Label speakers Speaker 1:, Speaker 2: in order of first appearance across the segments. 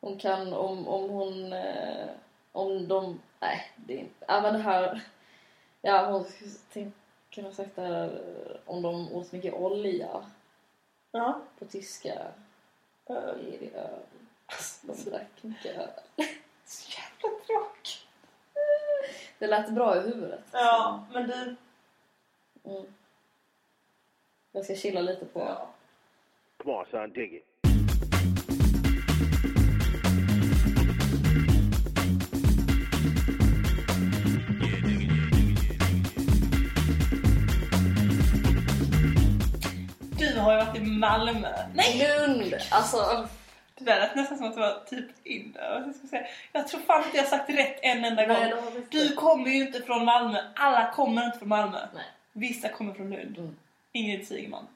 Speaker 1: Hon kan, om, om hon... Eh, om de... Nej, det är inte... Ja, men det här... Ja, hon tänkte kunna ha sagt det här eh, om de åt mycket olja
Speaker 2: Ja.
Speaker 1: på tyska.
Speaker 2: Eh,
Speaker 1: I det öl. Alltså, de drack mycket öl.
Speaker 2: Så jävla tråkigt.
Speaker 1: Det lät bra i huvudet.
Speaker 2: Ja, men du...
Speaker 1: Mm. Jag ska chilla lite på...
Speaker 2: Ja.
Speaker 3: Come on, son, dig it.
Speaker 2: Du har ju varit i Malmö. Nej!
Speaker 1: Lund! Alltså...
Speaker 2: Det där lät nästan som att det var typ in jag, ska säga. jag tror fan inte jag sagt rätt en enda gång.
Speaker 1: Nej, det har vi inte.
Speaker 2: Du kommer ju inte från Malmö. Alla kommer inte från Malmö.
Speaker 1: Nej.
Speaker 2: Vissa kommer från Lund.
Speaker 1: Mm.
Speaker 2: Ingrid Sigman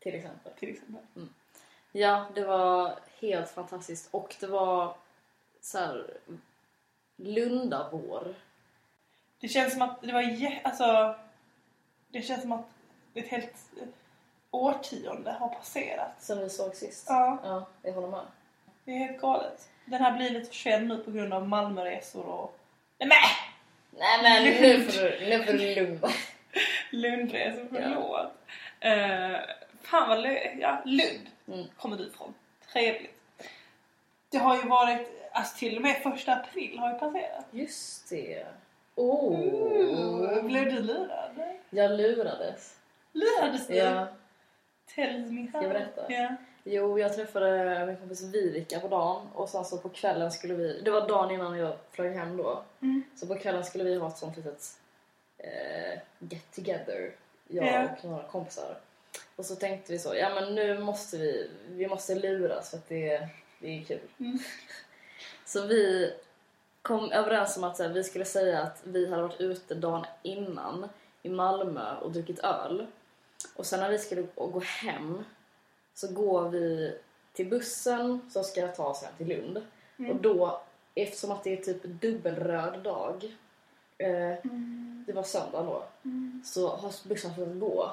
Speaker 1: Till exempel.
Speaker 2: till exempel.
Speaker 1: Ja, det var helt fantastiskt. Och det var så här Lundavår.
Speaker 2: Det känns som att det var jä- alltså, Det känns som att ett helt eh, årtionde har passerat.
Speaker 1: Som vi såg sist.
Speaker 2: Ja.
Speaker 1: ja jag håller med.
Speaker 2: Det är helt galet. Den här blir lite försedd nu på grund av Malmöresor och... Nej!
Speaker 1: Nej men nu får du, nu får du lugna
Speaker 2: Lundresor, förlåt. Eh, fan vad lö- ja, Lund
Speaker 1: Mm.
Speaker 2: kommer du ifrån. Trevligt. Det har ju varit, alltså till och med första april har ju passerat.
Speaker 1: Just det. Oh. Mm.
Speaker 2: Ooh, Mm. Blev du lurad?
Speaker 1: Jag lurades.
Speaker 2: Lurades du?
Speaker 1: Ja.
Speaker 2: Tell me
Speaker 1: Ska jag berätta?
Speaker 2: Ja.
Speaker 1: Jo, jag träffade min kompis Viveka på dagen och sen så på kvällen skulle vi, det var dagen innan jag flög hem då,
Speaker 2: Mm.
Speaker 1: så på kvällen skulle vi ha ett sånt litet eh, get together, jag
Speaker 2: Ja.
Speaker 1: och några kompisar. Och så tänkte vi så, ja men nu måste vi, vi måste luras för att det, det är kul.
Speaker 2: Mm.
Speaker 1: Så vi kom överens om att så här, vi skulle säga att vi hade varit ute dagen innan i Malmö och druckit öl. Och sen när vi skulle gå- gå hem så går vi till bussen som ska ta oss hem till Lund.
Speaker 2: Mm.
Speaker 1: Och då, eftersom att det är typ dubbelröd dag, eh, det var söndag då, så har bussen fått gå.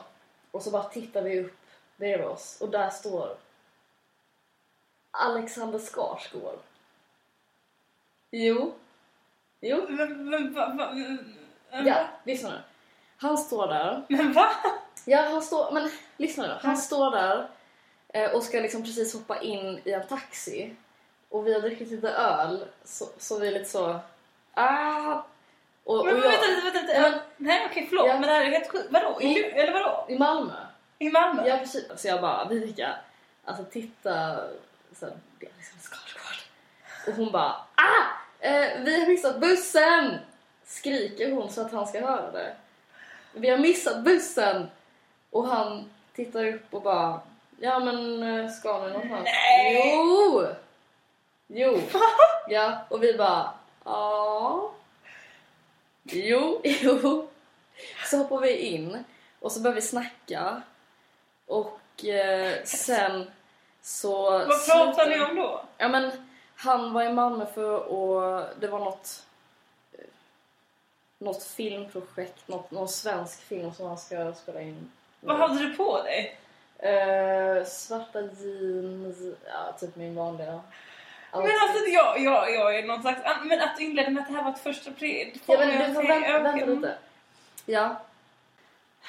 Speaker 1: Och så bara tittar vi upp bredvid oss och där står Alexander Skarsgård. Jo. Jo.
Speaker 2: Men, men, va, va, men, Mm.
Speaker 1: Ja, lyssna nu. Han står där
Speaker 2: men va?
Speaker 1: Ja, han står... Men lyssna nu.
Speaker 2: Mm.
Speaker 1: Han står där eh, och ska liksom precis hoppa in i en taxi. Och vi har druckit lite öl, så, så vi är lite så... Ah! Och, och
Speaker 2: Men, men,
Speaker 1: jag,
Speaker 2: vänta lite, vänta lite.
Speaker 1: Ja, men-
Speaker 2: Nej okej förlåt,
Speaker 1: Ja.
Speaker 2: men det här är ju helt sjukt. Vadå? I, Lund- eller vadå?
Speaker 1: I Malmö.
Speaker 2: I Malmö?
Speaker 1: Ja, precis. Så jag bara, Viveka, alltså titta... Så här, det är liksom Skarsgård. Och hon bara, ah! Eh, vi har missat bussen! Skriker hon så att han ska höra det. Vi har missat bussen! Och han tittar upp och bara, ja men eh, ska ni någonstans?
Speaker 2: Nej!
Speaker 1: Jo! Jo! ja, och vi bara, ja... Jo, jo. Så hoppar vi in och så börjar vi snacka. Och eh, sen så...
Speaker 2: Vad pratar
Speaker 1: slutar-
Speaker 2: ni om då?
Speaker 1: Ja men han var i Malmö för att det var något eh, något filmprojekt, något, någon svensk film som han ska spela in.
Speaker 2: Vad hade du på dig?
Speaker 1: Eh, svarta jeans, ja typ min vanliga.
Speaker 2: Men alltså jag, jag, jag är någon slags... ah, Men att du inledde med att det här var ett första april.
Speaker 1: Ja,
Speaker 2: får mig
Speaker 1: men
Speaker 2: att
Speaker 1: du får
Speaker 2: säga,
Speaker 1: vänta,
Speaker 2: okej,
Speaker 1: vänta
Speaker 2: mm.
Speaker 1: lite. Ja.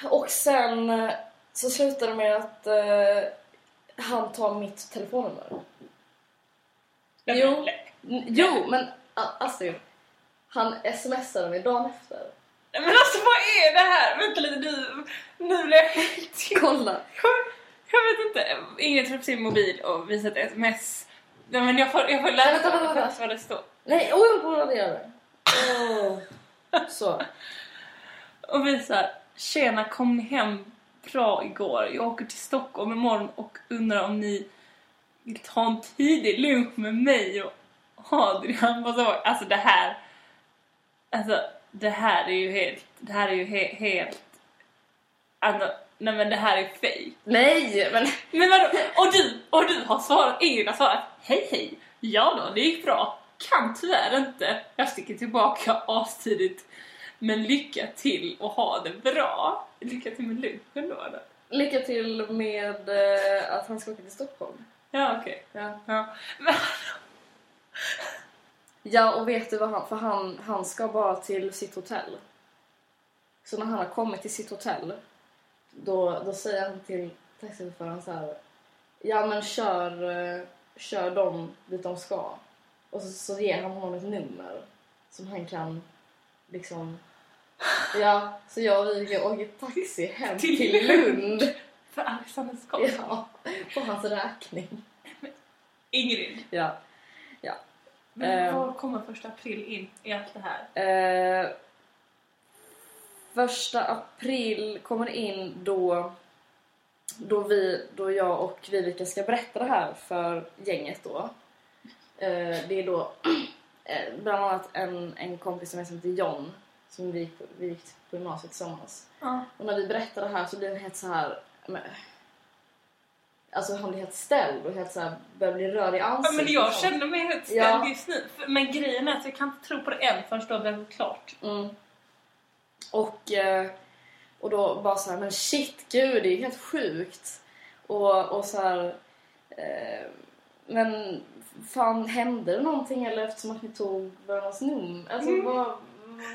Speaker 1: Och sen eh, så slutar det med att eh, han tar mitt telefonnummer.
Speaker 2: Nej,
Speaker 1: Jo.
Speaker 2: men nej.
Speaker 1: N- Jo, men A- Astrid, han smsade mig dagen efter.
Speaker 2: Nej, Men alltså vad är det här? Vänta lite, du, nu blir jag helt tyst.
Speaker 1: Kolla!
Speaker 2: Jag vet inte. Ingrid tar upp sin mobil och visar ett sms. Nej, men jag får, jag får
Speaker 1: Vänta, vänta, vänta.
Speaker 2: läsa först vad det står.
Speaker 1: Nej, oj, jag borde göra det. Åh. Så.
Speaker 2: Och visar. Tjena, kom ni hem bra igår? Jag åker till Stockholm imorgon och undrar om ni vill ta en tidig lunch med mig och Adrian på så. Alltså det här. Alltså det här är ju helt. Det här är ju he- helt. Alltså, nej men det här är fake.
Speaker 1: Nej, men...
Speaker 2: Men vadå? Och du, och du har svarat, Ingrid har svarat Hej hej, ja då, det gick bra. Kan tyvärr inte. Jag sticker tillbaka astidigt. Men lycka till och ha det bra. Lycka till med lunchen då. då.
Speaker 1: Lycka till med eh, att han ska åka till Stockholm.
Speaker 2: Ja okej.
Speaker 1: Ja.
Speaker 2: Ja. Men,
Speaker 1: Ja, och vet du vad han... För han, han ska bara till sitt hotell. Så när han har kommit till sitt hotell då, då säger han till taxichauffören så här... Ja, men kör, eh, kör dem dit de ska. Och så, så ger han honom ett nummer som han kan liksom... Ja, så jag och vi gick- åker taxi hem
Speaker 2: Till
Speaker 1: till,
Speaker 2: Lund.
Speaker 1: Lund.
Speaker 2: För Alexander Skarsgård.
Speaker 1: Ja, på hans räkning.
Speaker 2: Ingrid,
Speaker 1: Ja.
Speaker 2: men
Speaker 1: Ehm.
Speaker 2: var kommer första april in i allt det här?
Speaker 1: Eh, första april kommer in då, då, vi, då jag och Vivica ska berätta det här för gänget då. Eh, det är då eh, bland annat en, en kompis som heter John som vi, gick på- vi gick på gymnasiet tillsammans.
Speaker 2: Ja.
Speaker 1: Och när vi berättar det här så blir han helt så här. Men, alltså han blir helt ställd och helt så här, börjar bli röd i ansiktet.
Speaker 2: men
Speaker 1: och
Speaker 2: jag
Speaker 1: sånt.
Speaker 2: känner mig helt ställd
Speaker 1: Ja.
Speaker 2: just nu. För- Men grejen är att jag kan inte tro på det än förrän det har blivit klart.
Speaker 1: Mm. Och, eh, och då bara så här, men shit gud, det är helt sjukt. Och, och så här, eh, men fan hände det någonting eller eftersom att ni tog varandras num? Alltså
Speaker 2: Mm.
Speaker 1: vad,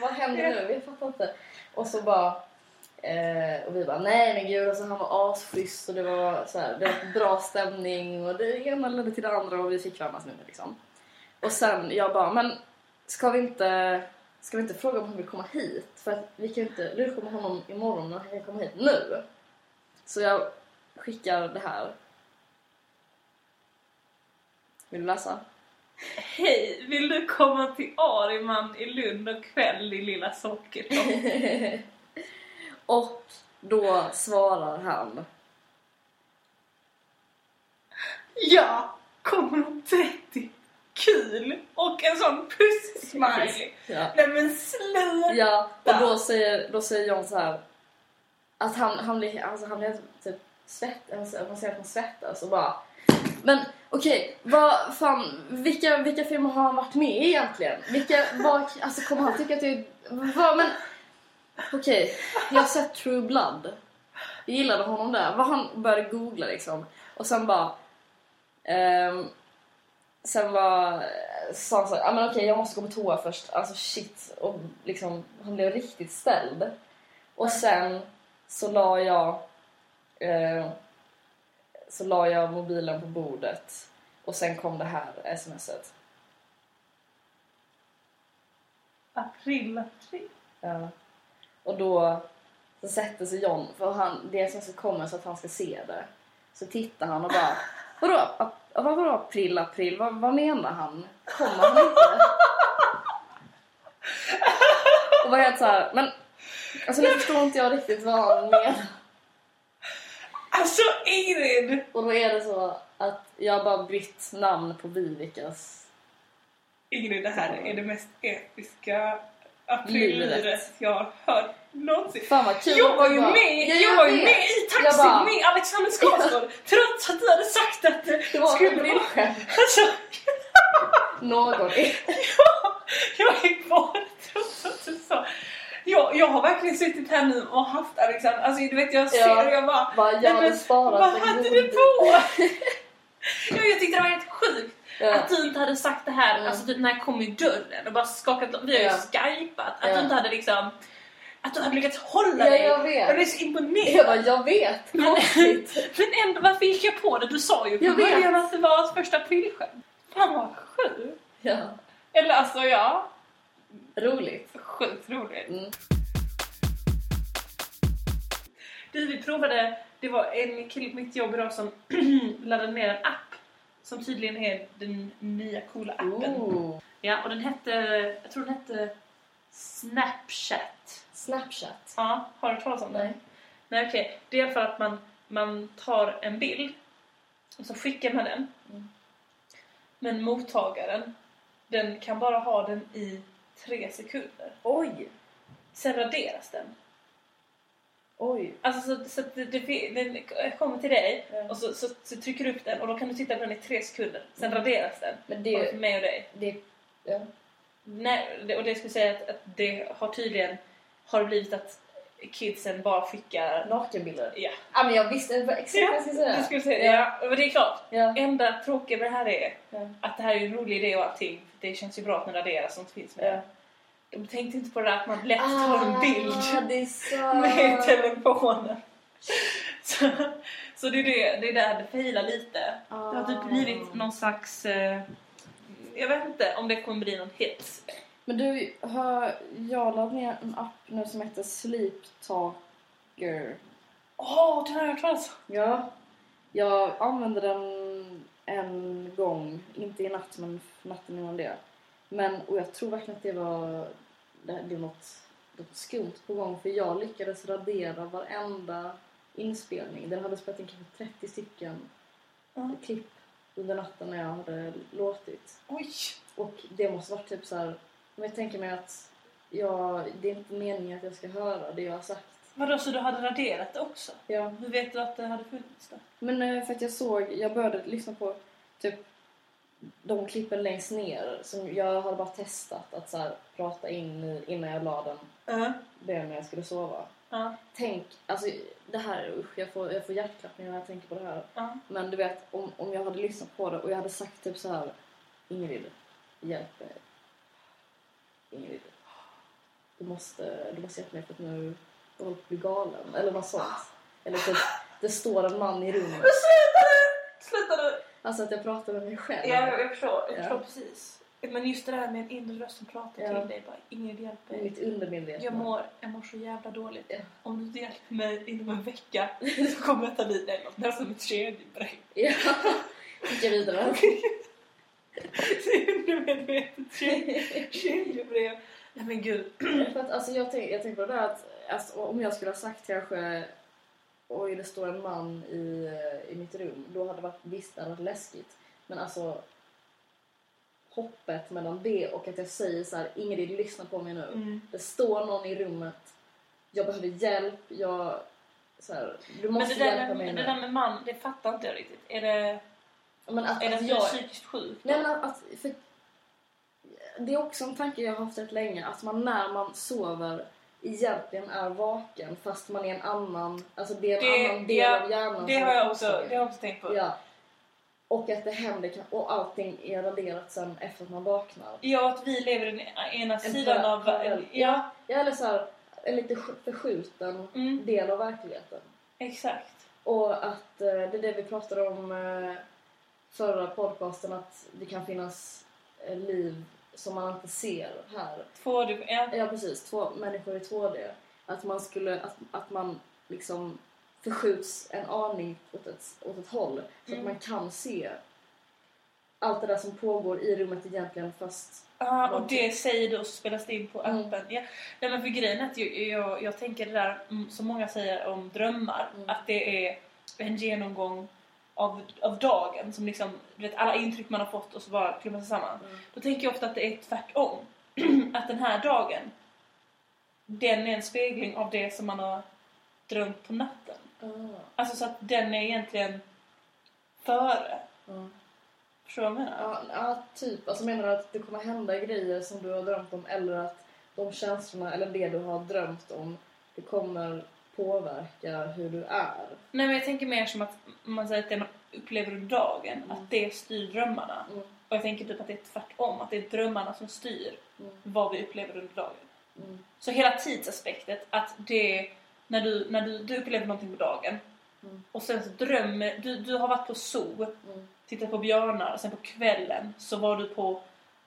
Speaker 1: vad hände nu? Jag fattar inte. Och så bara, eh, och vi bara nej men gud, alltså, han var asschysst och det var, så här, det var bra stämning och det ena ledde till det andra och vi fick varandras nummer liksom. Och sen jag bara, men ska vi inte Ska vi inte fråga om han vill komma hit? För att vi kan ju inte lura på honom imorgon men han kan komma hit nu. Så jag skickar det här. Vill du läsa?
Speaker 2: Hej, vill du komma till Ariman i Lund och kväll i lilla sockerdockan?
Speaker 1: Och då svarar han.
Speaker 2: Ja, kommer om 30. Kul! Och en sån puss-smiley.
Speaker 1: Ja,
Speaker 2: Nej men sluta!
Speaker 1: ja och då säger, då säger John så här. Att han, han blir, alltså han blir typ svett, alltså man ser att han svettas och bara Men okej, vad fan, vilka, vilka filmer har han varit med i egentligen? Vilka, vad, alltså kommer han tycka att det är... Vad, men okej, jag har sett True Blood. Jag gillade honom där. Vad han började googla liksom. Och sen bara... ehm, sen var sa han så här, "Ah, men okej jag måste gå på toa först. Alltså shit. Och liksom, han blev riktigt ställd. Och sen så la jag... eh, så la jag mobilen på bordet och sen kom det här smset.
Speaker 2: April, april.
Speaker 1: Ja. Och då så sätter sig John, för han, det smset kommer så att han ska se det. Så tittar han och bara Vadå, ap- vad- vadå april, april? Vad, vad menar han? Kommer han inte? Och var helt såhär, men alltså nu förstår inte jag riktigt vad han menar.
Speaker 2: Alltså Ingrid!
Speaker 1: Och då är det så att jag bara bytt namn på Vivikas
Speaker 2: Ingrid, det här är det mest episka
Speaker 1: Livet.
Speaker 2: aprilliret jag har hört någonsin.
Speaker 1: Fan vad kul!
Speaker 2: Jag var ju
Speaker 1: Bara,
Speaker 2: med,
Speaker 1: "Ja,
Speaker 2: jag var ju
Speaker 1: vet."
Speaker 2: med i
Speaker 1: Jag
Speaker 2: taxin
Speaker 1: bara,
Speaker 2: med Alexander Skarsgård trots att du hade sagt att det
Speaker 1: Det var
Speaker 2: skulle
Speaker 1: ett
Speaker 2: vara...
Speaker 1: aprilskämt.
Speaker 2: Alltså,
Speaker 1: Någon.
Speaker 2: jag är bara trots att du sa... Jag, jag har verkligen suttit här nu och haft Alexander, alltså du vet jag ser
Speaker 1: Ja.
Speaker 2: och jag bara...
Speaker 1: Bara, jag
Speaker 2: Nej,
Speaker 1: hade
Speaker 2: men
Speaker 1: sparat
Speaker 2: Vad
Speaker 1: en
Speaker 2: hade
Speaker 1: god
Speaker 2: du
Speaker 1: bit.
Speaker 2: på? ja, jag tyckte det var helt sjukt
Speaker 1: Ja.
Speaker 2: att du inte hade sagt det här,
Speaker 1: Mm.
Speaker 2: alltså typ när jag kom i dörren och bara skakat Vi har ju
Speaker 1: Ja.
Speaker 2: skypat, att
Speaker 1: Ja.
Speaker 2: du inte hade liksom... Att du hade lyckats hålla
Speaker 1: Ja,
Speaker 2: dig.
Speaker 1: jag vet.
Speaker 2: blev så imponerad.
Speaker 1: Jag bara, jag vet!
Speaker 2: Men,
Speaker 1: Konstigt.
Speaker 2: men ändå, varför gick jag på det? Du sa ju på
Speaker 1: Jag vet.
Speaker 2: början att det var ett första aprilskämt. Fan vad sjukt!
Speaker 1: Ja.
Speaker 2: Eller alltså ja,
Speaker 1: Roligt.
Speaker 2: sjukt roligt.
Speaker 1: Mm.
Speaker 2: Du, vi provade, det var en kille på mitt jobb idag som laddade ner en app som tydligen är den nya coola appen.
Speaker 1: Ooh.
Speaker 2: Ja, och den hette, jag tror den hette Snapchat.
Speaker 1: Snapchat.
Speaker 2: Ja, har du hört talas om den?
Speaker 1: Nej.
Speaker 2: Nej okej, det är för att man, man tar en bild och så skickar man den.
Speaker 1: Mm.
Speaker 2: Men mottagaren, den kan bara ha den i tre sekunder.
Speaker 1: Oj!
Speaker 2: Sen raderas den.
Speaker 1: Oj.
Speaker 2: Alltså så, så att det, det, fi- den kommer till dig
Speaker 1: Ja.
Speaker 2: och så, så, så trycker du upp den och då kan du titta på den i tre sekunder. Sen raderas den.
Speaker 1: Men
Speaker 2: Både
Speaker 1: Mm. det...
Speaker 2: för mig och dig.
Speaker 1: det ja.
Speaker 2: Nej, det- och det skulle säga att, att det har tydligen har blivit att kidsen bara skickar...
Speaker 1: Nakenbilder.
Speaker 2: Ja.
Speaker 1: Ja men jag visste exakt vad jag skulle
Speaker 2: Du
Speaker 1: säga.
Speaker 2: skulle säga ja. Men det är klart.
Speaker 1: Ja.
Speaker 2: Enda tråkiga med det här är
Speaker 1: Ja.
Speaker 2: att det här är ju en rolig idé och allting. Det känns ju bra att man raderar sånt finns med.
Speaker 1: Ja.
Speaker 2: De tänkte inte på det där att man lätt tar en bild.
Speaker 1: Ah, det är sant.
Speaker 2: med telefonen. Så, så det, är det, det är där det filar lite.
Speaker 1: Ah.
Speaker 2: Det har typ blivit någon slags... Eh, jag vet inte om det kommer bli någon hit.
Speaker 1: Men du, har jag laddat ner en app nu som heter Sleep Talker.
Speaker 2: Åh, den har jag hört talas om.
Speaker 1: Ja. Jag använde den en gång, inte i natt men natten innan det. Men, och jag tror verkligen att det var, det, det var något, något skumt på gång för jag lyckades radera varenda inspelning. Den hade spelat in kanske 30 stycken
Speaker 2: Mm.
Speaker 1: klipp under natten när jag hade låtit.
Speaker 2: Oj!
Speaker 1: Och det måste varit typ så här. Men jag tänker mig att jag, det är inte meningen att jag ska höra det jag har sagt.
Speaker 2: Vadå, så du hade raderat det också?
Speaker 1: Ja.
Speaker 2: Hur vet du att det hade funnits då?
Speaker 1: Men eh, för att jag såg, jag började lyssna på typ de klippen längst ner som jag hade bara testat att så här, prata in i innan jag la den,
Speaker 2: Ja.
Speaker 1: det när jag skulle sova.
Speaker 2: Ja.
Speaker 1: Tänk, alltså det här, usch jag får, jag får hjärtklappning när jag tänker på det här.
Speaker 2: Ja.
Speaker 1: Men du vet, om, om jag hade lyssnat på det och jag hade sagt typ så här Ingrid, hjälp mig. Ingrid, du måste, du måste hjälpa mig för att nu jag håller på att bli galen. Eller något sånt. Eller typ, det står en man i rummet.
Speaker 2: Sluta nu! Sluta nu!
Speaker 1: Alltså att jag pratar med mig själv.
Speaker 2: Ja, jag, jag förstår. Jag
Speaker 1: Ja.
Speaker 2: förstår precis. Men just det där med en inre röst som pratar
Speaker 1: Ja.
Speaker 2: till dig. Bara, Ingrid hjälp
Speaker 1: I
Speaker 2: mig.
Speaker 1: Mitt undermedvetna.
Speaker 2: Jag mår, jag mår så jävla dåligt.
Speaker 1: Ja.
Speaker 2: Om du inte hjälper mig inom en vecka så kommer jag ta livet av något. Det är som ett tredje brev.
Speaker 1: Ja. Skicka vidare.
Speaker 2: Det är undermedvetet tredje- tredje brev. Nej men gud.
Speaker 1: För att, alltså, jag tänker jag tänker på det där att alltså, om jag skulle ha sagt kanske Oj, det står en man i, i mitt rum. Då hade det varit, visst, det hade varit läskigt. Men alltså hoppet mellan det och att jag säger så här Ingrid, lyssna på mig nu.
Speaker 2: Mm.
Speaker 1: Det står någon i rummet. Jag behöver hjälp. Jag, så här, du
Speaker 2: Men
Speaker 1: måste
Speaker 2: det där,
Speaker 1: hjälpa mig
Speaker 2: med,
Speaker 1: nu.
Speaker 2: det där med man, det fattar inte jag riktigt. Är det,
Speaker 1: men att,
Speaker 2: är det
Speaker 1: att
Speaker 2: att du är
Speaker 1: jag,
Speaker 2: psykiskt sjuk?
Speaker 1: Nej, men att, för, det är också en tanke jag har haft rätt länge, att man när man sover egentligen är vaken fast man är en annan, alltså det är en
Speaker 2: Det-
Speaker 1: annan del
Speaker 2: ja,
Speaker 1: av hjärnan.
Speaker 2: det
Speaker 1: som
Speaker 2: har
Speaker 1: är
Speaker 2: jag också,
Speaker 1: påslagen.
Speaker 2: det har jag också tänkt på.
Speaker 1: Ja. Och att det händer kan- och allting är raderat sen efter att man vaknar.
Speaker 2: Ja, att vi lever den ena sidan
Speaker 1: parallell-
Speaker 2: av...
Speaker 1: parallell.
Speaker 2: Ja,
Speaker 1: Ja, eller så här, en lite sk- förskjuten
Speaker 2: mm,
Speaker 1: del av verkligheten.
Speaker 2: exakt.
Speaker 1: Och att eh, det är det vi pratade om eh, förra podcasten, att det kan finnas eh, liv som man inte ser här.
Speaker 2: Två, du, ja,
Speaker 1: Ja precis, två människor i 2D. Att man skulle, att, att man liksom förskjuts en aning åt ett, åt ett håll. Så
Speaker 2: Mm.
Speaker 1: att man kan se allt det där som pågår i rummet egentligen fast...
Speaker 2: Ja, och
Speaker 1: Någonting.
Speaker 2: det säger du och så spelas det in på
Speaker 1: Mm.
Speaker 2: appen. Ja. Nej, men för grejen är att jag, jag, jag tänker det där mm, som många säger om drömmar,
Speaker 1: Mm.
Speaker 2: att det är en genomgång av, av dagen som liksom, du vet alla intryck man har fått och så bara klumpar sig samman.
Speaker 1: Mm.
Speaker 2: Då tänker jag ofta att det är tvärtom. att den här dagen, den är en spegling av det som man har drömt på natten.
Speaker 1: Ah,
Speaker 2: Alltså så att den är egentligen före.
Speaker 1: ja.
Speaker 2: Förstår du vad jag menar?
Speaker 1: Ja, ja, typ. Alltså menar du att det kommer hända grejer som du har drömt om eller att de känslorna eller det du har drömt om det kommer påverka hur du är?
Speaker 2: Nej men jag tänker mer som att man säger att det man upplever under dagen,
Speaker 1: Mm.
Speaker 2: att det styr drömmarna.
Speaker 1: Mm.
Speaker 2: Och jag tänker typ att det är tvärtom, att det är drömmarna som styr
Speaker 1: Mm.
Speaker 2: vad vi upplever under dagen.
Speaker 1: Mm.
Speaker 2: Så hela tidsaspektet, att det när du, när du, du upplever någonting på dagen
Speaker 1: Mm.
Speaker 2: och sen så drömmer, du, du har varit på zoo,
Speaker 1: Mm.
Speaker 2: tittat på björnar och sen på kvällen så var du på,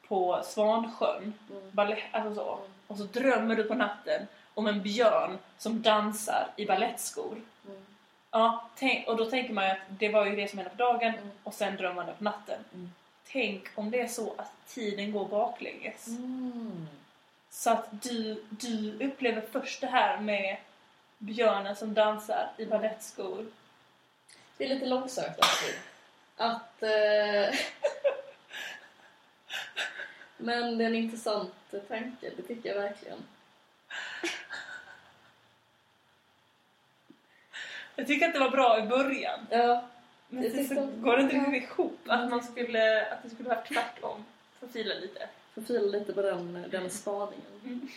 Speaker 2: på Svansjön,
Speaker 1: Mm.
Speaker 2: balett, alltså så.
Speaker 1: Mm.
Speaker 2: Och så drömmer du på natten om en björn som dansar i ballettskor.
Speaker 1: Mm.
Speaker 2: Ja, tänk, och då tänker man ju att det var ju det som hände på dagen
Speaker 1: Mm.
Speaker 2: och sen drömmer man det på natten.
Speaker 1: Mm.
Speaker 2: Tänk om det är så att tiden går baklänges.
Speaker 1: Mm.
Speaker 2: Så att du, du upplever först det här med björnen som dansar
Speaker 1: Mm.
Speaker 2: i balettskor.
Speaker 1: Det är lite långsökt alltså. Att... Eh... Men det är en intressant tanke, det tycker jag verkligen.
Speaker 2: Jag tycker att det var bra i början.
Speaker 1: Ja,
Speaker 2: Men
Speaker 1: Jag
Speaker 2: sen så
Speaker 1: tyckte Mm. också-
Speaker 2: går det inte
Speaker 1: ja.
Speaker 2: riktigt ihop att, man skulle, att det skulle vara tvärtom. Får fila lite.
Speaker 1: får fila lite på den, den spaningen.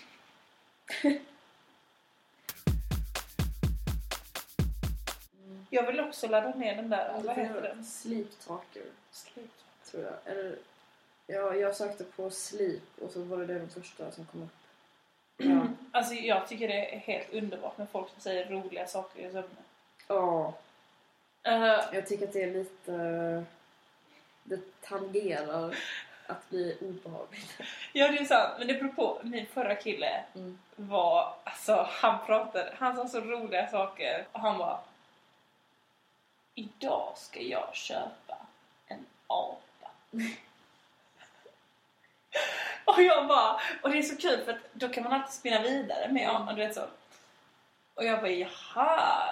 Speaker 2: Jag vill också ladda ner den där. Vad
Speaker 1: Lite
Speaker 2: heter den?
Speaker 1: Sleep Talker,
Speaker 2: Sleep.
Speaker 1: tror jag. Eller, ja, jag sökte på sleep och så var det den första som kom upp. Ja,
Speaker 2: Alltså jag tycker det är helt underbart när folk som säger roliga saker i sömnen.
Speaker 1: Ja,
Speaker 2: Eh,
Speaker 1: jag tycker att det är lite... Det tangerar att bli obehagligt.
Speaker 2: ja det är sant, men det beror på. Min förra kille
Speaker 1: Mm.
Speaker 2: var, alltså han pratade, han sa så roliga saker och han var Idag ska jag köpa en apa. och jag bara, och det är så kul för att då kan man alltid spinna vidare med apan, du vet så. Och jag bara, jaha,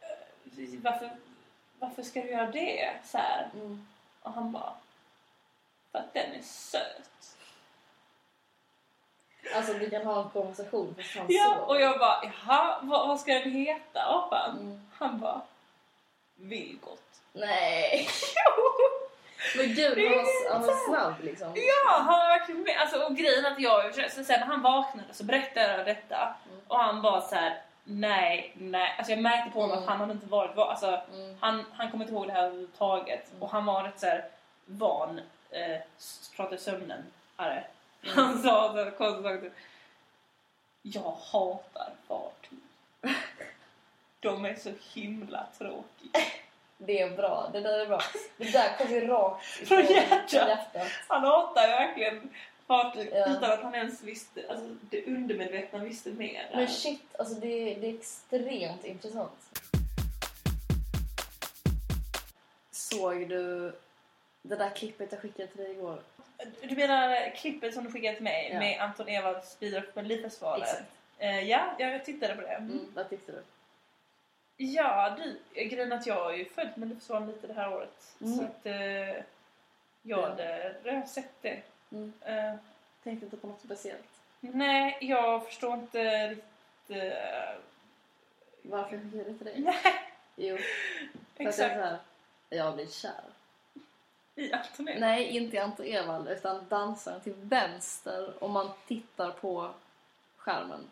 Speaker 2: eh, varför, varför ska du göra det? Så här.
Speaker 1: Mm.
Speaker 2: Och han bara... För att den är söt.
Speaker 1: Alltså vi kan ha en konversation fast han
Speaker 2: Ja,
Speaker 1: sover.
Speaker 2: och jag bara, jaha, vad, vad ska den heta apan?
Speaker 1: Mm.
Speaker 2: Han bara, Vilgot.
Speaker 1: Nej! Men gud, han var, han var snabb liksom.
Speaker 2: Ja, han var verkligen med. Alltså, och grejen att jag, så sen när han vaknade så berättade jag detta.
Speaker 1: Mm.
Speaker 2: Och han bara så här, nej, nej. Alltså jag märkte på honom
Speaker 1: Mm.
Speaker 2: att han hade inte varit, va- alltså
Speaker 1: Mm.
Speaker 2: han, han kommer inte ihåg det här överhuvudtaget.
Speaker 1: Mm.
Speaker 2: Och han var rätt så här van, eh, s- pratade sömnen. Arre.
Speaker 1: Mm.
Speaker 2: Han sa så här konstigt saker typ, Jag hatar fartyg. De är så himla tråkiga.
Speaker 1: Det är bra, det där är bra. Det där kom ju rakt
Speaker 2: Från
Speaker 1: ifrån
Speaker 2: hjärtat.
Speaker 1: hjärtat.
Speaker 2: Han hatar verkligen fartyg
Speaker 1: Ja.
Speaker 2: utan att han ens visste, alltså det undermedvetna visste mer.
Speaker 1: Men shit, alltså det, det är extremt intressant. Såg du det där klippet jag skickade till dig igår?
Speaker 2: Du menar klippet som du skickade till mig
Speaker 1: Ja.
Speaker 2: med Anton Ewalds bidrag på Melodifestivalen?
Speaker 1: Exakt.
Speaker 2: Eh, ja, jag tittade på det.
Speaker 1: Mm, vad tyckte du?
Speaker 2: Ja, du, grejen att jag har ju följt Melodifestivalen lite det här året.
Speaker 1: Mm.
Speaker 2: Så att eh, jag hade redan sett det.
Speaker 1: Mm.
Speaker 2: Eh,
Speaker 1: Tänkte inte på något speciellt.
Speaker 2: Nej, jag förstår inte riktigt... eh,
Speaker 1: Varför jag skickade det till dig?
Speaker 2: nej,
Speaker 1: Jo, för att jag,
Speaker 2: exakt.
Speaker 1: så här, jag blir kär.
Speaker 2: I Antonella.
Speaker 1: Nej, inte i Anton Ewald utan dansaren till vänster om man tittar på skärmen.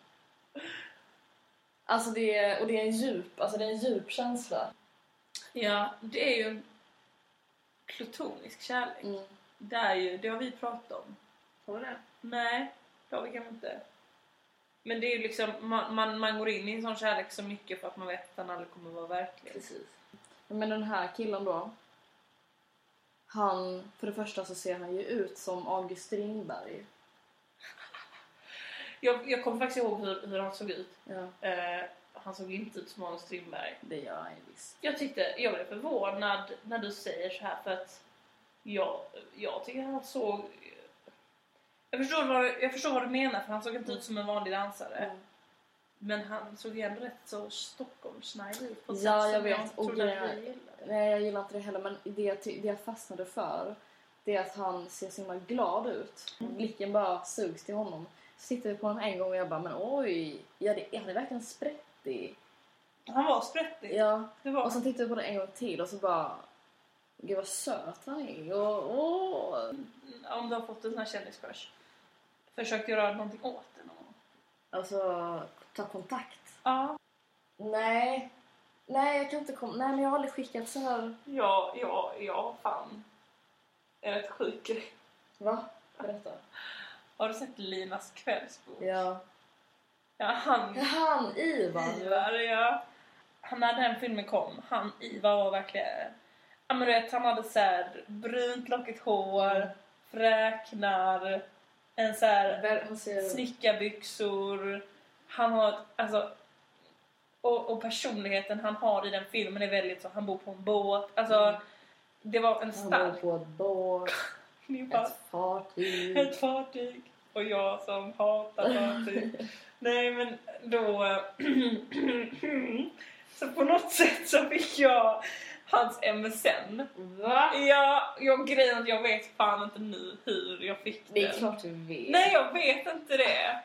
Speaker 1: Alltså det är, och det är en djup, alltså det är en djup känsla.
Speaker 2: Ja, det är ju en plutonisk kärlek.
Speaker 1: Mm.
Speaker 2: Det, är ju, det har vi pratat om.
Speaker 1: Har du det?
Speaker 2: Nej, det har vi kanske inte. Men det är ju liksom, man, man, man går in i en sån kärlek så mycket för att man vet att den aldrig kommer vara verklig.
Speaker 1: Precis. Men den här killen då. Han, för det första så ser han ju ut som August Strindberg.
Speaker 2: Jag, jag kommer faktiskt ihåg hur, hur han såg ut.
Speaker 1: Ja,
Speaker 2: Eh, han såg inte ut som Hans Strindberg.
Speaker 1: det gör han ju visst.
Speaker 2: Jag tyckte, jag blev förvånad när du säger så här för att jag, jag tycker han såg... Jag förstår, vad, jag förstår vad du menar för han såg inte ut som en vanlig dansare.
Speaker 1: Mm.
Speaker 2: Men han såg ju ändå rätt så Stockholmsnajdig ut på ett
Speaker 1: Ja, jag
Speaker 2: sätt som
Speaker 1: vet.
Speaker 2: inte
Speaker 1: Och
Speaker 2: trodde att
Speaker 1: grejen-
Speaker 2: vi gillade.
Speaker 1: Nej, jag gillar inte det heller. Men det jag, ty- det jag fastnade för det är att han ser så himla glad ut.
Speaker 2: Mm.
Speaker 1: Blicken bara sugs till honom. Så tittar vi på honom en gång och jag bara, men oj, ja, det, han är verkligen sprättig.
Speaker 2: Han var sprättig.
Speaker 1: Ja.
Speaker 2: Det var.
Speaker 1: Och sen tittar vi på det en gång till och så bara, gud vad söt han är. Och, åh.
Speaker 2: Om du har fått en sån här kändiscrush. Försökte göra någonting åt det någon gång?
Speaker 1: Alltså, ta kontakt.
Speaker 2: Ja,
Speaker 1: Nej. Nej, jag kan inte komma. Nej, men jag har aldrig skickat så här.
Speaker 2: ja, ja, ja, fan. En rätt sjuk grej.
Speaker 1: Va? Berätta.
Speaker 2: Har du sett Linas kvällsbok?
Speaker 1: Ja.
Speaker 2: ja han
Speaker 1: Han, Ivan.
Speaker 2: Ivar, ja. Han när den filmen kom, han Ivar var verkligen... Ja men du vet, han hade så här brunt lockigt
Speaker 1: Mm.
Speaker 2: hår, fräknar, en så här
Speaker 1: Väl- Han ser...
Speaker 2: snickarbyxor. Han har ett, alltså... Och, och personligheten han har i den filmen är väldigt så, han bor på en båt. Alltså,
Speaker 1: Mm.
Speaker 2: det var en
Speaker 1: Han bor
Speaker 2: stark...
Speaker 1: på ett båt.
Speaker 2: Ni bara,
Speaker 1: Ett fartyg.
Speaker 2: ett fartyg. Och jag som hatar fartyg. Nej men då... så på något sätt så fick jag hans MSN.
Speaker 1: Va?
Speaker 2: Ja, jag grejen är att jag vet fan inte nu hur jag fick det.
Speaker 1: Det är klart du vet.
Speaker 2: Nej jag vet inte det.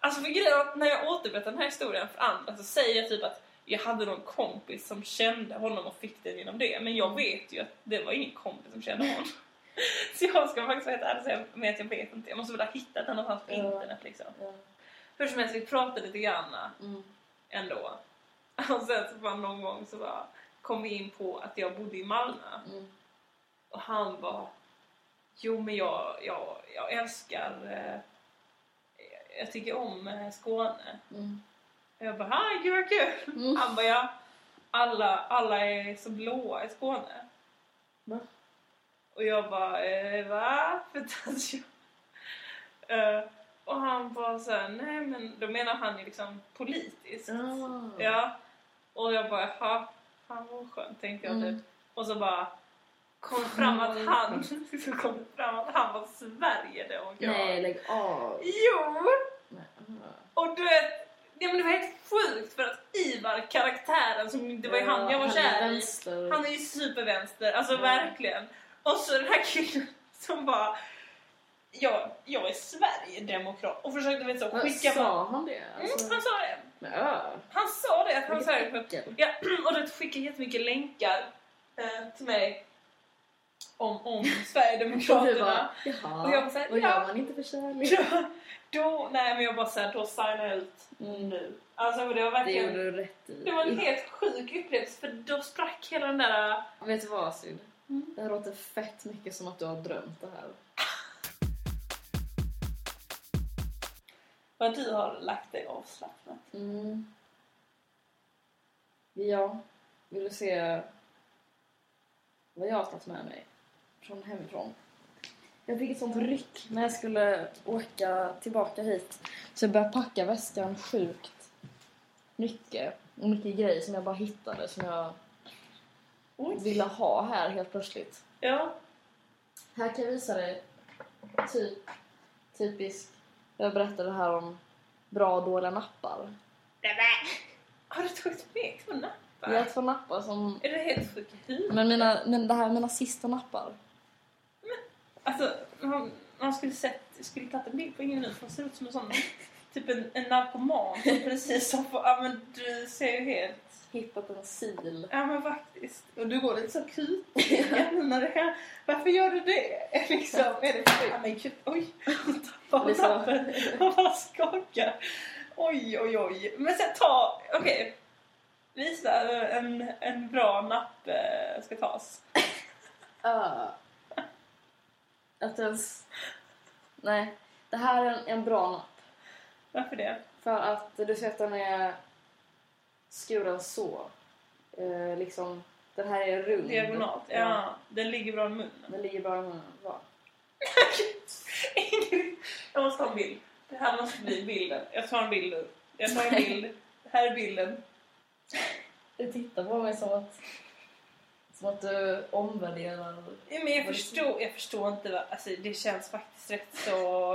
Speaker 2: Alltså för grejen är att när jag återberättar den här historien för andra så säger jag typ att jag hade någon kompis som kände honom och fick den genom det. Men jag vet ju att det var ingen kompis som kände honom. Så jag ska faktiskt vara helt ärlig och säga med att jag vet inte. Jag måste väl ha hittat den någonstans på
Speaker 1: Ja.
Speaker 2: internet liksom.
Speaker 1: Ja.
Speaker 2: Hur som helst, vi pratade lite grann
Speaker 1: Mm.
Speaker 2: ändå. Och sen så bara någon gång så bara kom vi in på att jag bodde i Malmö
Speaker 1: Mm.
Speaker 2: och han var Jo men jag, jag, jag älskar eh, jag tycker om eh, Skåne.
Speaker 1: Mm.
Speaker 2: Och jag bara, ah, gud vad kul!
Speaker 1: Mm.
Speaker 2: Han bara, ja, alla, alla är så blåa i Skåne.
Speaker 1: Va?
Speaker 2: Och jag bara, eh, va? För att jag... Eh, och han bara så här, nej men då menar han ju liksom politiskt.
Speaker 1: Ah.
Speaker 2: Ja. Och jag bara, jaha, fan vad skönt tänkte jag
Speaker 1: Mm.
Speaker 2: typ. Och så bara kom fram att
Speaker 1: Oj.
Speaker 2: han, så kom det fram att han var Sverige då. Och jag
Speaker 1: Nej, lägg av.
Speaker 2: Jo!
Speaker 1: Nej. ah.
Speaker 2: Och du vet, ja, men det var helt sjukt för att Ivar, karaktären, som, det var ju han jag var
Speaker 1: han
Speaker 2: kär i.
Speaker 1: vänster.
Speaker 2: Han är ju supervänster, alltså
Speaker 1: Ja.
Speaker 2: verkligen. Och så den här killen som bara jag, jag är Sverigedemokrat och försökte vet, så,
Speaker 1: Vad
Speaker 2: skicka på...
Speaker 1: Sa han det?
Speaker 2: Mm,
Speaker 1: Alltså,
Speaker 2: han sa det.
Speaker 1: Med ö?
Speaker 2: Han sa det. att Han sa det.
Speaker 1: Vilket äckel.
Speaker 2: Ja, och det skickade jättemycket länkar eh, till mig om, om
Speaker 1: Och du
Speaker 2: Sverigedemokraterna.
Speaker 1: bara, jaha,
Speaker 2: Och jag bara så här,
Speaker 1: vad
Speaker 2: ja.
Speaker 1: gör man inte för kärlek?
Speaker 2: Ja, då, nej men jag bara såhär, då signar jag ut
Speaker 1: Mm.
Speaker 2: nu. Alltså för det var
Speaker 1: Det gjorde
Speaker 2: verkligen,
Speaker 1: du rätt i.
Speaker 2: det var en helt sjuk upplevelse för då sprack hela den där...
Speaker 1: Vet du vad Syd?
Speaker 2: Mm.
Speaker 1: Det här låter fett mycket som att du har drömt det här.
Speaker 2: Vad du har lagt dig avslappnat.
Speaker 1: Mm. Ja, vill du se vad jag har tagit med mig från hemifrån? Jag fick ett sånt ryck när jag skulle åka tillbaka hit. Så jag började packa väskan sjukt mycket. Och mycket grejer som jag bara hittade som jag ville ha här helt plötsligt.
Speaker 2: Ja.
Speaker 1: Här kan jag visa dig typ, typisk, jag berättade här om bra och dåliga nappar.
Speaker 2: Har du tagit med två nappar?
Speaker 1: Jag har två nappar som
Speaker 2: Är du helt sjuk i huvudet?
Speaker 1: Men mina, men det här är mina sista nappar.
Speaker 2: Alltså, man, man skulle sett, skulle tagit en bild på ingen nu för han ser ut som en sån, typ en, en narkoman som precis har fått, ja men du ser ju helt,
Speaker 1: Hittat en sil.
Speaker 2: ja men faktiskt. Och du går lite så kutig i händerna, det här. varför gör du det? Liksom, är det för, ja men gud, oj, hon tappade
Speaker 1: Liksom.
Speaker 2: tappen, hon bara skakar. Oj, oj, oj. Men sen ta, okej. Visa hur en, en bra napp eh, ska tas.
Speaker 1: Uh. Att ens... Nej. Det här är en, en bra napp.
Speaker 2: Varför det?
Speaker 1: För att du ser att den är skuren så. Eh, liksom, den här är rund.
Speaker 2: Diagonalt, ja. Den ligger bra i munnen.
Speaker 1: Den ligger bara i munnen. Va?
Speaker 2: Ingrid, jag måste ha en bild. Det här måste bli bilden. Jag tar en bild nu. Jag tar en bild. Här är bilden.
Speaker 1: Du tittar på mig som att... Som att du omvärderar...
Speaker 2: Ja, Men jag förstår, jag förstår inte. Vad, alltså, det känns faktiskt rätt så...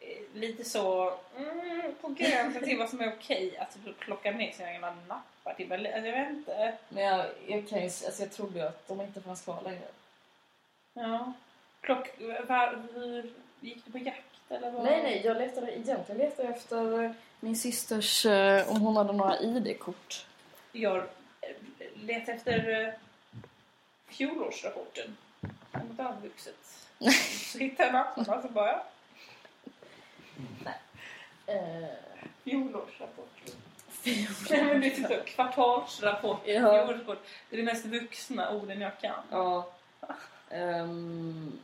Speaker 2: eh, Lite så... Mm, på gränsen till vad som är okej. Att alltså, plocka ner sina egna nappar. Typ. Eller- Alltså, jag vet inte.
Speaker 1: Men jag, jag kan ju... Alltså jag trodde ju att de inte fanns kvar längre.
Speaker 2: Ja. Plock, var, hur, gick du på jakt? Eller vad?
Speaker 1: Nej, nej, jag letade egentligen letade jag efter eh, min systers, eh, om hon hade några ID-kort.
Speaker 2: Jag eh, letar efter eh, fjolårsrapporten om dagvuxet. Så hittade jag mapparna så alltså bara, ja,
Speaker 1: Eh,
Speaker 2: fjolårsrapporten. Nej men
Speaker 1: fjol.
Speaker 2: det är typ så, kvartalsrapport,
Speaker 1: Ja.
Speaker 2: fjolårsrapport. Det är de mest vuxna orden jag kan.
Speaker 1: ja.
Speaker 2: Ehm,
Speaker 1: Um,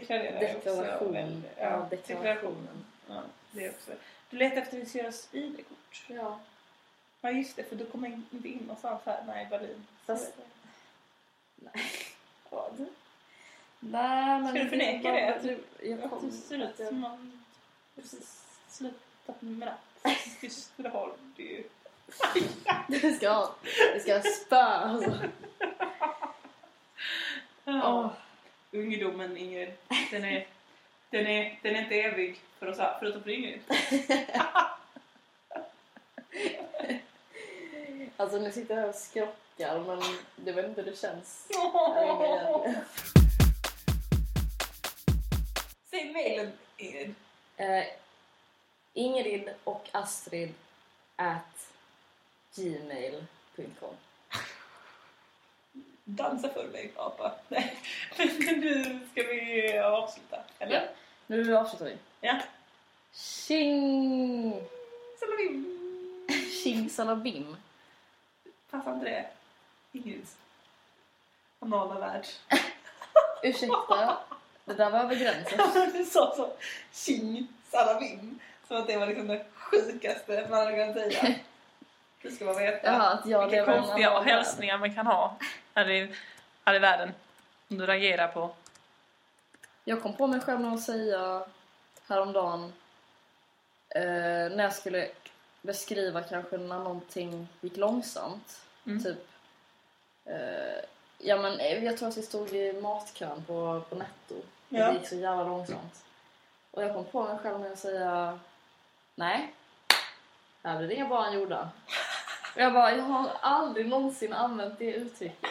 Speaker 2: Deklarerar jag också.
Speaker 1: deklaration.
Speaker 2: väldigt-
Speaker 1: Ja,
Speaker 2: deklaration.
Speaker 1: deklarationen.
Speaker 2: Ja, det är också. Du letar efter Visiras ID-kort.
Speaker 1: Ja.
Speaker 2: Ja just det, för du kommer in- inte in någonstans här. Nej, Berlin.
Speaker 1: Fast-
Speaker 2: Nej. Vad?
Speaker 1: Nej, men...
Speaker 2: Ska du förneka det?
Speaker 1: Att du, jag
Speaker 2: Att
Speaker 1: kom,
Speaker 2: du ser ut
Speaker 1: att jag,
Speaker 2: som man precis slutat med ratt. Dysterholm, det är ju...
Speaker 1: vi ska ha, vi ska ha spö alltså. Åh,
Speaker 2: Ungdomen, Ingrid, den är, den, är, den är inte evig för oss här, förutom för Ingrid.
Speaker 1: Alltså nu sitter jag här och skrockar men jag vet inte hur det känns.
Speaker 2: Säg mejlen, Ingrid.
Speaker 1: Eh, Ingrid och Astrid at gmail.com
Speaker 2: Dansa för mig, apa. Nej, men nu ska vi avsluta, eller?
Speaker 1: Nu avslutar vi.
Speaker 2: Ja.
Speaker 1: Tjing!
Speaker 2: Salabim!
Speaker 1: Tjing salabim.
Speaker 2: Passar inte det? Ingrids anala värld.
Speaker 1: Ursäkta, det där var över gränsen.
Speaker 2: du sa så tjing salabim. Som att det var liksom det sjukaste man hade kunnat säga. Det ska man veta.
Speaker 1: Jaha, att jag
Speaker 2: Vilka
Speaker 1: lever i en
Speaker 4: Konstiga
Speaker 1: annan värld.
Speaker 4: hälsningar man kan ha här i, här i världen. Om du reagerar på...
Speaker 1: Jag kom på mig själv med att säga häromdagen eh, när jag skulle beskriva kanske när någonting gick långsamt.
Speaker 4: Mm.
Speaker 1: Typ, eh, ja men eh, jag tror att vi stod i matkön på, på Netto.
Speaker 2: Ja.
Speaker 1: Det gick så jävla långsamt. Och jag kom på mig själv med att säga nej, här blir inga barn gjorda. Och jag bara, jag har aldrig någonsin använt det uttrycket.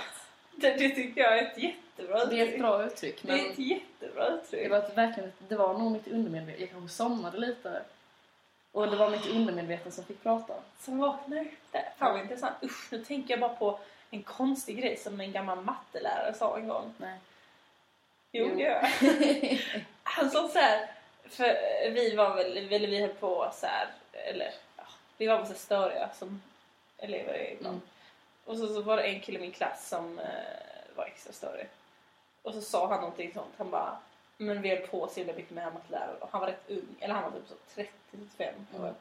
Speaker 2: Det, det tycker jag är ett jättebra
Speaker 1: Det är ett bra uttryck
Speaker 2: Det är
Speaker 1: men
Speaker 2: ett jättebra
Speaker 1: Det
Speaker 2: uttryck.
Speaker 1: var ett verkligen, det var nog mitt undermedvetna. Jag kanske somnade lite. Och det var mitt undermedvetna som fick prata.
Speaker 2: Som vaknar upp där. Fan vad intressant. Usch, nu tänker jag bara på en konstig grej som en gammal mattelärare sa en gång.
Speaker 1: Nej.
Speaker 2: Jo,
Speaker 1: Jo.
Speaker 2: det gör jag. Han sa så här, för vi var väl, eller vi höll på så här, eller ja, vi var väl så här störiga som elever är ibland.
Speaker 1: Mm.
Speaker 2: Och så, så var det en kille i min klass som eh, var extra störig. Och så sa han någonting sånt, han bara men vi höll på så himla mycket med den här matteläraren och han var rätt ung, eller han var typ så 30-35
Speaker 1: Mm.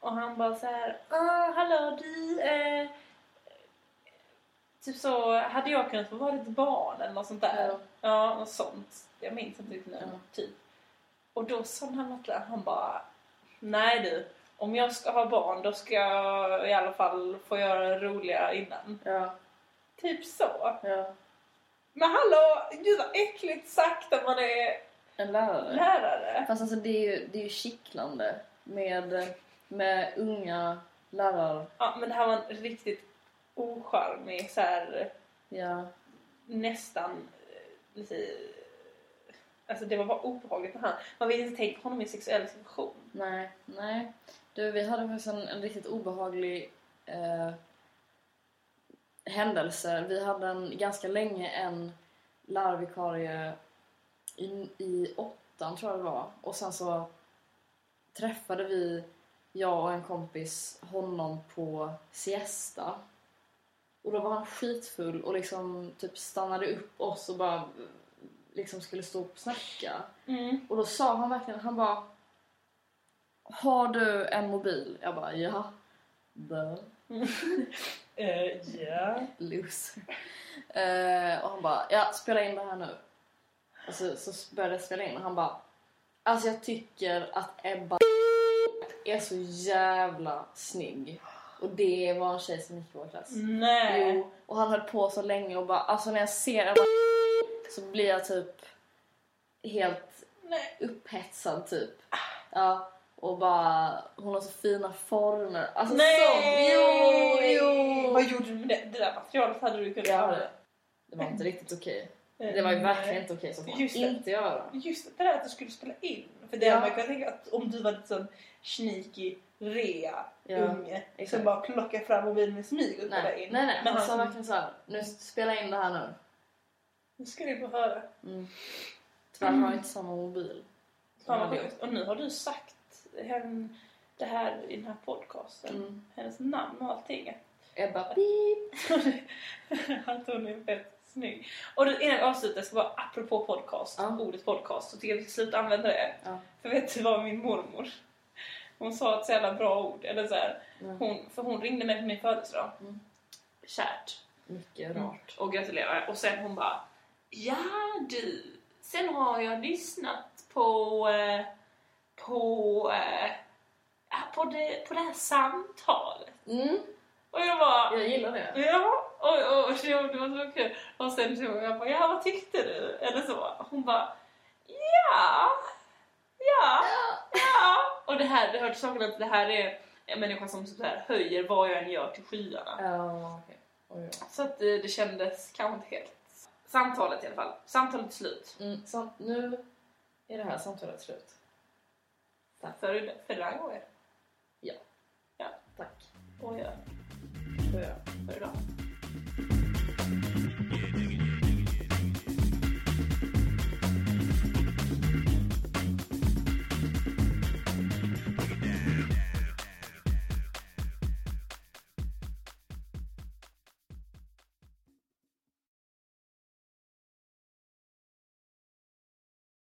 Speaker 2: Och han bara så här, ah hallå du, eh, typ så hade jag kunnat få vara ditt barn eller något sånt där.
Speaker 1: Ja.
Speaker 2: Ja, något sånt. Jag minns inte riktigt nu.
Speaker 1: Ja.
Speaker 2: Typ. Och då sa den här matteläraren, han bara Nej du, om jag ska ha barn då ska jag i alla fall få göra det roliga innan.
Speaker 1: Ja,
Speaker 2: Typ så.
Speaker 1: ja.
Speaker 2: Men hallå, gud vad äckligt sagt när man är
Speaker 1: En lärare.
Speaker 2: lärare.
Speaker 1: Fast alltså det är ju, det är ju kittlande med, med unga lärare.
Speaker 2: Ja, men det här var en riktigt ocharmig så här
Speaker 1: Ja. nästan,
Speaker 2: nästan eh, lite... Alltså det var bara obehagligt med han. Man vill inte tänka på honom i en sexuell situation.
Speaker 1: Nej, nej. Du, vi hade faktiskt en, en riktigt obehaglig eh, händelse. Vi hade en, ganska länge en lärarvikarie i, i åttan, tror jag det var. Och sen så träffade vi, jag och en kompis, honom på siesta. Och då var han skitfull och liksom typ stannade upp oss och bara liksom skulle stå och snacka. Och då sa han verkligen, han bara Har du en mobil? Jag bara ja. Bö,
Speaker 2: Eh, ja.
Speaker 1: loser. Eh, och han bara ja, spela in det här nu. Och så, så började jag spela in och han bara Alltså jag tycker att Ebba är så jävla snygg. Och det var en tjej som gick i vår klass.
Speaker 2: Nej.
Speaker 1: Jo, och han höll på så länge och bara alltså när jag ser Ebba så blir jag typ helt
Speaker 2: Nej.
Speaker 1: upphetsad typ. Ja, och bara hon har så fina former. Alltså
Speaker 2: Nej!
Speaker 1: så. Jo, jo.
Speaker 2: Vad gjorde du med det? Det där materialet hade du kunnat
Speaker 1: Ja.
Speaker 2: göra.
Speaker 1: Det var inte riktigt okej. Det var ju
Speaker 2: Nej.
Speaker 1: verkligen inte okej så får man
Speaker 2: Just det.
Speaker 1: inte göra.
Speaker 2: Just det där att du skulle spela in. För det
Speaker 1: Ja.
Speaker 2: hade man kunnat tänka att om du var en sån sneaky rea
Speaker 1: Ja,
Speaker 2: unge
Speaker 1: exakt.
Speaker 2: som bara plockar fram mobilen i smyg och spelar
Speaker 1: Nej,
Speaker 2: in.
Speaker 1: nej, nej.
Speaker 2: Men
Speaker 1: han
Speaker 2: han
Speaker 1: sa
Speaker 2: som-
Speaker 1: verkligen så här. Nu spela in det här nu.
Speaker 2: Nu ska ni få höra.
Speaker 1: Mm. Tyvärr har jag inte samma mobil.
Speaker 2: Fan vad
Speaker 1: Ja.
Speaker 2: sjukt. Och nu har du sagt hen, det här i den här podcasten.
Speaker 1: Mm.
Speaker 2: Hennes namn och allting.
Speaker 1: Ebba beep.
Speaker 2: att hon är fett snygg. Och det- innan vi avslutar ska bara apropå podcast,
Speaker 1: Ja.
Speaker 2: ordet podcast, så tycker jag att vi ska sluta använda det.
Speaker 1: Ja.
Speaker 2: För vet du vad min mormor? Hon sa ett så jävla bra ord. Eller så här,
Speaker 1: Mm.
Speaker 2: hon, för hon ringde mig på min födelsedag.
Speaker 1: Mm.
Speaker 2: Kärt.
Speaker 1: Mycket
Speaker 2: Mm.
Speaker 1: rart.
Speaker 2: Och gratulerade. Och sen hon bara Ja du, sen har jag lyssnat på eh, på eh, ja, på, det, på det här samtalet.
Speaker 1: Mm.
Speaker 2: Och jag bara
Speaker 1: Jag gillar det.
Speaker 2: Ja, och, och, och det var- det var så kul. Och sen så jag bara, ja vad tyckte du? Eller så. Hon bara, ja, ja, ja. Och det här, det hör till saken att det här är en människa som så här höjer vad jag än gör till skyarna.
Speaker 1: Ja, okej. Oj,
Speaker 2: Så att eh, det kändes kanske inte helt. Samtalet i alla fall. Samtalet är slut.
Speaker 1: oj. Mm. Sam- nu är det här samtalet slut.
Speaker 2: För, för den här gången.
Speaker 1: Tack.
Speaker 2: Och jag,
Speaker 1: Får jag-
Speaker 2: för idag.